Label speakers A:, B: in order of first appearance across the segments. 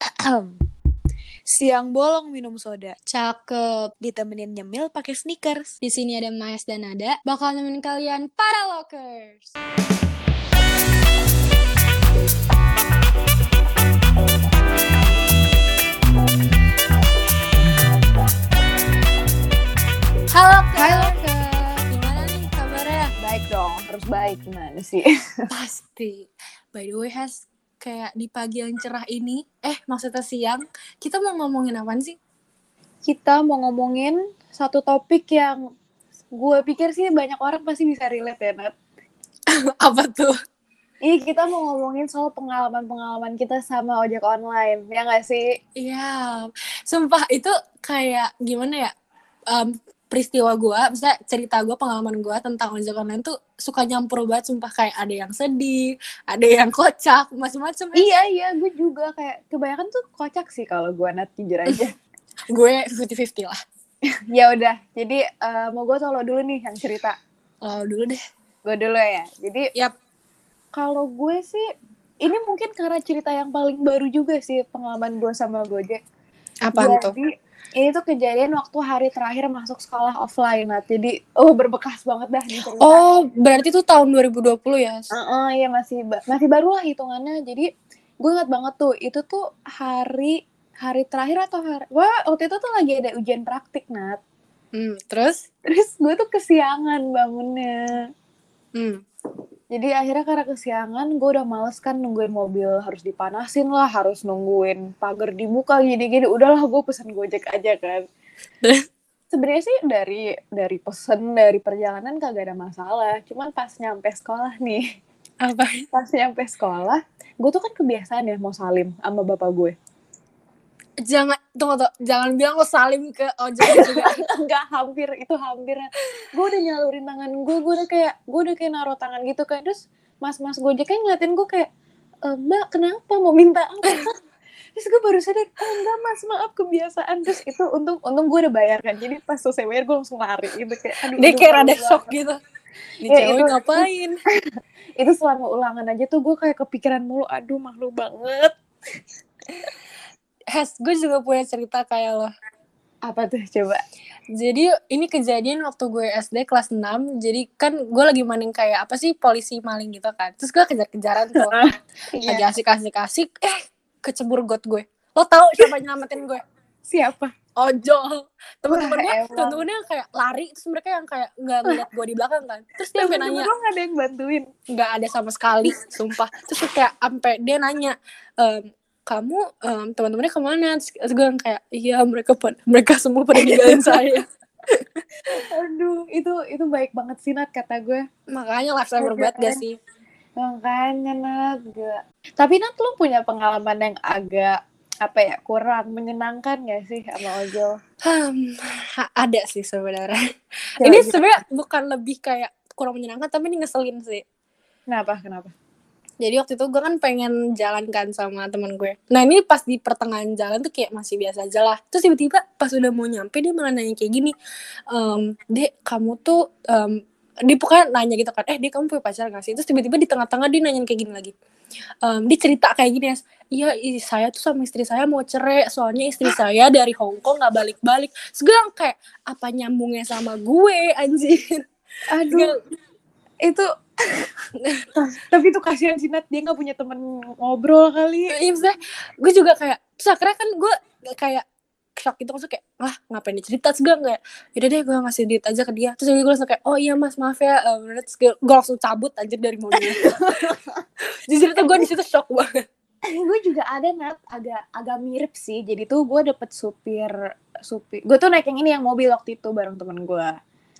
A: Siang bolong minum soda,
B: Cakep.
A: ditemenin nyemil pakai sneakers.
B: Di sini ada Maes dan Nada, bakal nemenin kalian para lokers. Halo, Hai Lokers. Gimana nih kabarnya?
C: Baik dong, harus baik gimana sih?
B: Pasti. By the way, Has, kayak di pagi yang cerah ini, eh maksudnya siang, kita mau ngomongin apaan sih?
C: Kita mau ngomongin satu topik yang gue pikir sih banyak orang pasti bisa relate ya, Nat.
B: Apa tuh?
C: Ini Iya, kita mau ngomongin soal pengalaman-pengalaman kita sama ojek online, ya nggak sih?
B: Iya, sumpah itu kayak gimana ya? em, peristiwa gua, misalnya cerita gua, pengalaman gua tentang ojek online tuh suka nyampur banget, sumpah kayak ada yang sedih, ada yang kocak, ya. macam-macam.
C: Iya, iya, gue juga kayak kebanyakan tuh kocak sih kalau gue Nat, jujur aja.
B: Gue 50-50 lah.
C: ya udah, jadi eh, mau gue solo dulu nih yang cerita.
B: Oh, dulu deh.
C: Gue dulu ya, jadi
B: Yap.
C: kalau gue sih ini mungkin karena cerita yang paling baru juga sih pengalaman gue sama Gojek.
B: Apaan tuh?
C: Jadi ini tuh kejadian waktu hari terakhir masuk sekolah offline, Nat. Jadi oh berbekas banget dah nih cerita.
B: Oh, berarti tuh tahun 2020 ya?
C: Heeh, iya masih ba- masih baru lah hitungannya. Jadi gue ingat banget tuh itu tuh hari hari terakhir atau hari wah waktu itu tuh lagi ada ujian praktik, Nat.
B: Hmm, terus?
C: Terus gue tuh kesiangan bangunnya.
B: Hmm.
C: Jadi akhirnya karena kesiangan gue udah males kan nungguin mobil harus dipanasin lah, harus nungguin pagar dibuka gini-gini. Udahlah gue pesan Gojek aja kan.
B: Terus?
C: Sebenarnya sih dari dari pesen dari perjalanan kagak ada masalah. Cuman pas nyampe sekolah nih,
B: Apa?
C: pas nyampe sekolah, gue tuh kan kebiasaan ya mau salim sama bapak gue.
B: Jangan, tunggu, tunggu. Jangan bilang lo salim ke ojek juga.
C: Enggak hampir itu hampirnya. Gue udah nyalurin tangan gue, gue udah kayak gue udah kayak naruh tangan gitu kan. Terus mas-mas gojeknya ngeliatin gue kayak, "E, Mbak kenapa mau minta angkat? Terus gue baru sadar, oh enggak mas, maaf kebiasaan. Terus itu untung untung gue udah bayarkan. Jadi pas selesai bayar gue langsung lari gitu kayak. aduh,
B: Dia
C: aduh,
B: kayak
C: malu
B: rada
C: banget.
B: shock gitu. Nih
C: Ya,
B: cewek
C: itu-
B: ngapain?
C: itu selama ulangan aja tuh gue kayak kepikiran mulu aduh malu banget
B: Hes, gue juga punya cerita kayak lo.
C: apa tuh coba
B: Jadi ini kejadian waktu gue SD kelas 6. Jadi kan gue lagi maning kayak apa sih polisi maling gitu kan. Terus gue kejar-kejaran tuh.
C: Iya.
B: Lagi asik-asik-asik. Eh, kecebur got gue. Lo tau siapa yang nyelamatin gue?
C: siapa
B: Ojol. Temen-temen gue,
C: Wah, emang.
B: temen-temennya kayak lari. Terus mereka yang kayak nggak ngeliat gue di belakang kan. Terus dia sampai nanya,
C: Temen-temen lo nggak ada yang bantuin
B: nggak ada sama sekali sumpah terus gue kayak sampai dia nanya "Em, kamu em, teman-temannya kemana terus terus gue yang kayak iya mereka pen- mereka semua pada ninggalin saya
C: aduh itu itu baik banget sih Nat kata gue
B: makanya lifesaver banget gak sih
C: makanya Nat gak tapi Nat lo punya pengalaman yang agak apa ya kurang menyenangkan gak sih sama ojol
B: Hmm, ha- ada sih sebenarnya
C: Coba
B: ini
C: gitu.
B: sebenarnya bukan lebih kayak kurang menyenangkan tapi ini ngeselin sih
C: kenapa kenapa
B: jadi waktu itu gue kan pengen jalan kan sama teman gue nah ini pas di pertengahan jalan tuh kayak masih biasa aja lah terus tiba-tiba pas udah mau nyampe dia malah nanya kayak gini "Em, dek kamu tuh em," dia pokoknya nanya gitu kan eh dek kamu punya pacar gak sih terus tiba-tiba di tengah-tengah dia nanyain kayak gini lagi Em, dia cerita kayak gini ya iya i- saya tuh sama istri saya mau cerai soalnya istri saya dari Hong Kong nggak balik-balik sekarang kayak apa nyambungnya sama gue anjir
C: aduh itu tapi tuh kasihan sih Nat dia nggak punya temen ngobrol kali
B: Iya maksudnya gue juga kayak Terus akhirnya kan gue kayak shock gitu Maksudnya kayak Wah ngapain dia cerita Terus gue kayak Yaudah deh gue ngasih duit aja ke dia Terus gue langsung kayak Oh iya mas maaf ya Eh, bener." Terus gue, gue langsung cabut anjir dari mobil Jujur tuh gue disitu shock banget
C: gue juga ada nat agak agak mirip sih jadi tuh gue dapet supir supir gue tuh naik yang ini yang mobil waktu itu bareng temen gue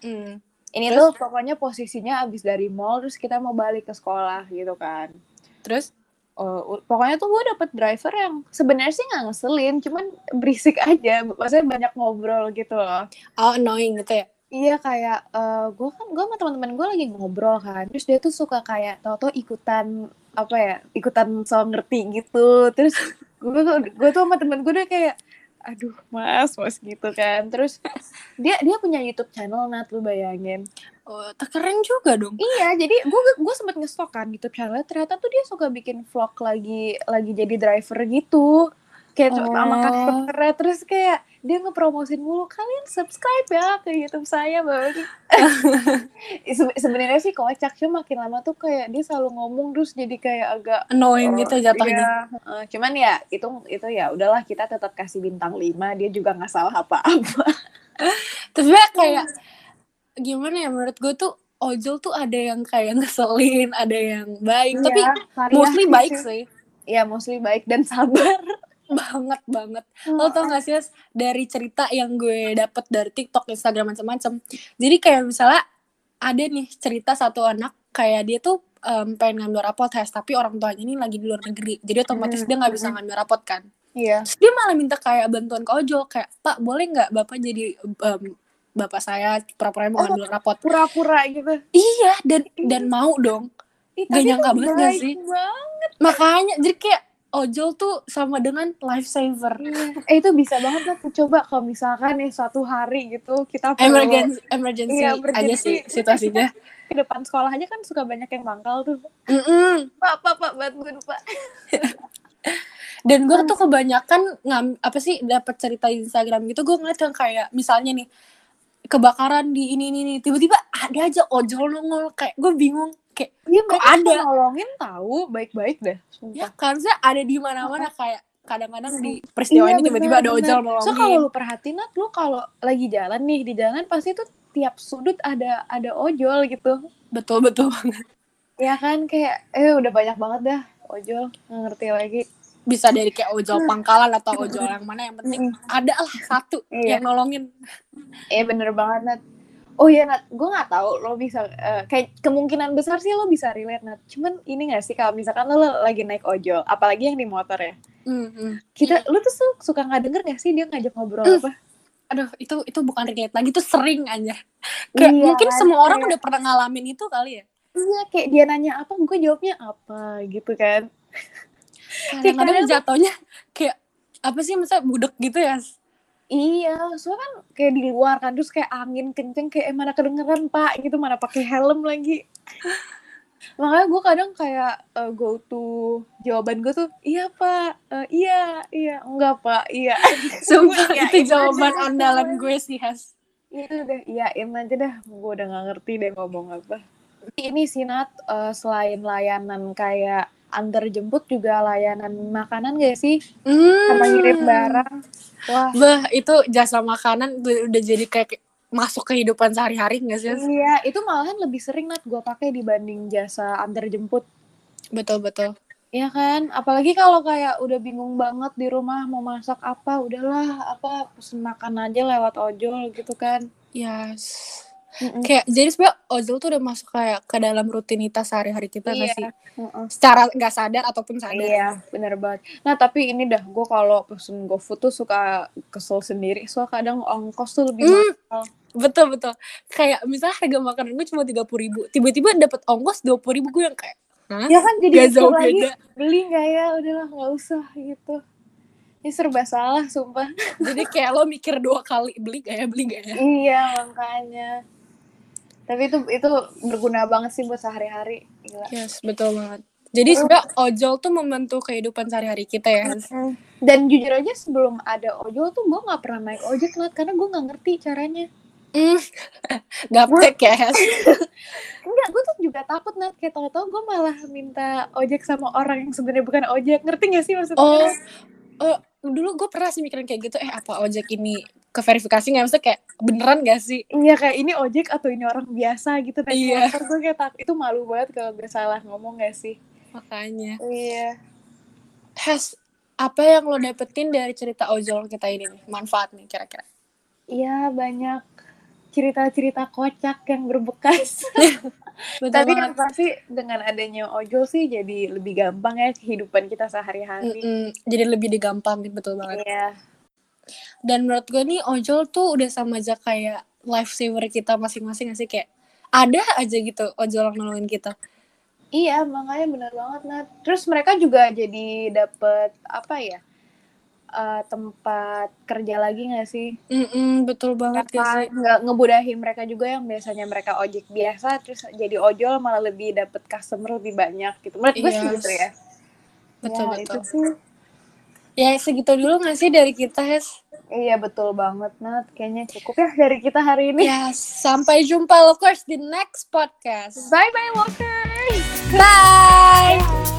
C: Hmm. ini
B: Terus?
C: tuh pokoknya posisinya abis dari mall terus kita mau balik ke sekolah gitu kan
B: Terus
C: Eh, u- pokoknya tuh gue dapet driver yang sebenarnya sih nggak ngeselin cuman berisik aja maksudnya banyak ngobrol gitu loh
B: Oh annoying gitu ya
C: Iya kayak gue kan gue sama teman-teman gue lagi ngobrol kan, terus dia tuh suka kayak tau-tau ikutan apa ya, ikutan soal ngerti gitu. Terus gue gue tuh sama temen gue udah kayak, aduh mas mas gitu kan. Terus dia dia punya YouTube channel Nat lu bayangin.
B: Oh, terkeren juga dong
C: Iya jadi gue gue sempet ngestok kan YouTube channel. Ternyata tuh dia suka bikin vlog lagi lagi jadi driver gitu. kayak cuma sama
B: Oh.
C: karakternya terus kayak dia ngepromosin mulu kalian subscribe ya ke YouTube saya bang Eh, Se- sebenarnya sih kocak cuma makin lama tuh kayak dia selalu ngomong terus jadi kayak agak
B: annoying
C: Oh,
B: gitu jatuhnya.
C: iya. Eh, cuman ya itu itu ya udahlah kita tetap kasih bintang 5 dia juga nggak salah apa-apa
B: Tapi ya kayak gimana ya menurut gue tuh ojol tuh ada yang kayak ngeselin, ada yang baik, tapi
C: Iya, variasi
B: mostly baik
C: sih.
B: sih.
C: ya mostly baik dan sabar
B: Banget banget. Lo tau gak sih Les, dari cerita yang gue dapet dari TikTok, Instagram macam-macam. Jadi kayak misalnya ada nih cerita satu anak kayak dia tuh em, pengen ngambil rapot tes tapi orang tuanya ini lagi di luar negeri. Jadi otomatis
C: Hmm,
B: dia nggak bisa
C: hmm.
B: ngambil rapot kan.
C: iya
B: Terus dia malah minta kayak bantuan ke ojol kayak Pak boleh nggak bapak jadi em, bapak saya pura-pura mau
C: Oh.
B: ngambil rapot.
C: pura-pura gitu
B: Iya dan dan mau dong.
C: Ih,
B: Gak
C: tapi
B: nyangka
C: lu
B: banget gak
C: baik
B: sih?
C: banget.
B: Makanya jadi kayak ojol tuh sama dengan lifesaver.
C: eh itu bisa banget lah coba kalau misalkan ya suatu hari gitu kita perlu-
B: Emergency, emergency,
C: Iya,
B: aja
C: emergency.
B: sih situasinya.
C: ke depan sekolahnya kan suka banyak yang mangkal tuh
B: Mm-mm.
C: pak pak pak bantuin pak
B: dan gue
C: Hmm.
B: tuh kebanyakan ngam apa sih dapat cerita di Instagram gitu gue ngeliat yang kayak misalnya nih kebakaran di ini ini ini tiba-tiba ada aja ojol nongol kayak gue bingung kayak
C: iya
B: Kok
C: mereka
B: ada?
C: suka nolongin tahu baik-baik deh sumpah
B: ya harusnya ada di mana-mana kayak kadang-kadang di peristiwa ini
C: benar,
B: tiba-tiba ada ojol
C: benar.
B: nolongin
C: Iya, So kalau lu perhatiin Nat, lu kalau lagi jalan nih di jalan pasti tuh tiap sudut ada ada ojol gitu.
B: betul betul
C: Ya kan kayak eh udah banyak banget dah ojol nggak ngerti lagi.
B: bisa dari kayak
C: Nah.
B: ojol pangkalan atau ojol yang mana yang penting ada lah satu
C: Hmm. Iya.
B: yang nolongin
C: Eh bener banget Nat. Oh iya Nat, gue nggak tahu lo bisa eh, kayak kemungkinan besar sih lo bisa relate Nat. Cuman ini nggak sih kalau misalkan lo, lo lagi naik ojol, apalagi yang di motor ya.
B: Mm-mm.
C: Kita
B: Iya.
C: lu tuh su- suka nggak denger nggak sih dia ngajak ngobrol
B: Mm.
C: apa?
B: aduh itu itu bukan relate lagi tuh sering aja kayak
C: Iya,
B: mungkin
C: kan?
B: semua orang
C: Kayak-
B: udah pernah ngalamin itu kali ya
C: Iya kayak dia nanya apa, gue jawabnya apa gitu kan. Iya,
B: kadang-kadang jatuhnya kayak apa sih misalnya budek gitu ya
C: Iya, soalnya kan kayak di luar kan terus kayak angin kenceng kayak eh, mana kedengeran pak gitu mana pakai helm lagi. Makanya gue kadang kayak eh, go to jawaban gue tuh iya pak, Eh, iya iya enggak pak, iya.
B: sumpah
C: Iya,
B: itu
C: itu
B: jawaban
C: aja. Iya
B: andalan gue sih Has
C: itu udah iyain aja dah, gue udah nggak ngerti deh ngomong apa. Ini Sinat selain layanan kayak antar jemput juga layanan makanan gak sih? Sama ngirim
B: Hmm.
C: barang. Wah,
B: bah itu jasa makanan udah, udah jadi kayak masuk kehidupan sehari-hari nggak sih Has?
C: Iya, itu malahan lebih sering Nat gue pakai dibanding jasa antar jemput.
B: betul betul
C: Iya kan, apalagi kalau kayak udah bingung banget di rumah mau masak apa, udahlah apa pesen makan aja lewat ojol gitu kan.
B: yes Iya,
C: Mm-mm.
B: kayak jadi sebenarnya ojol tuh udah masuk kayak ke dalam rutinitas sehari-hari kita nggak
C: Iya.
B: sih
C: Mm-mm.
B: secara nggak sadar ataupun sadar
C: Iya, bener banget. Nah tapi ini dah, gue kalau pesen GoFood tuh suka kesel sendiri, soal kadang ongkos tuh lebih
B: Hmm,
C: mahal.
B: betul betul kayak misalnya harga makanan gue cuma tiga puluh ribu tiba-tiba dapat ongkos dua puluh ribu gue yang kayak Hah?
C: Ya kan
B: Gak
C: jadi mikir
B: jauh
C: lagi,
B: beda.
C: beli nggak ya, udahlah nggak usah gitu. Ini serba salah, sumpah.
B: Jadi kayak lo mikir dua kali beli gak ya beli gak ya.
C: Iya makanya. Tapi itu itu berguna banget sih buat sehari-hari. Gila.
B: Yes betul banget. Jadi sebenarnya ojol tuh membantu kehidupan sehari-hari kita ya.
C: Dan jujur aja sebelum ada ojol tuh gue nggak pernah naik ojek Nat, karena gue nggak ngerti caranya.
B: Mm. Gaptek ya. Hes.
C: Enggak, gue tuh juga takut Nat kayak tau-tau gue malah minta ojek sama orang yang sebenarnya bukan ojek. Ngerti gak sih maksudnya?
B: Oh, oh, dulu gue pernah sih mikirin kayak gitu. Eh apa ojek ini keverifikasi nggak? Maksudnya kayak beneran gak sih?
C: Iya kayak ini ojek atau ini orang biasa gitu naik
B: Iya.
C: motor gue kayak takut itu malu banget kalau gue salah ngomong gak sih?
B: Makanya.
C: Iya.
B: Has apa yang lo dapetin dari cerita ojol kita ini nih? Manfaat nih kira-kira.
C: Iya banyak cerita-cerita kocak yang berbekas.
B: Betul
C: Tapi yang
B: banget.
C: pasti dengan adanya ojol sih jadi lebih gampang ya kehidupan kita sehari-hari.
B: Mm-mm. Jadi lebih digampangin betul banget.
C: Iya.
B: dan menurut gue nih ojol tuh udah sama aja kayak lifesaver kita masing-masing gak sih kayak ada aja gitu ojol yang nolongin kita
C: Iya, makanya bener banget Nat. Terus mereka juga jadi dapet apa ya? eh, tempat kerja lagi nggak sih?
B: Mm-mm, betul banget gak
C: Karena
B: sih
C: nggak ngebudahin mereka juga yang biasanya mereka ojek biasa terus jadi ojol malah lebih dapet customer lebih banyak gitu. Menurut gue sih
B: Yes.
C: gitu ya.
B: Iya. betul
C: Ya,
B: betul
C: Itu sih.
B: itu, Ya segitu dulu gak sih dari kita, Hes?
C: Iya betul banget Nat. Kayaknya cukup ya dari kita hari ini.
B: Ya, sampai jumpa, of course, di next podcast.
C: Bye bye Walker.
B: Bye!
C: Bye.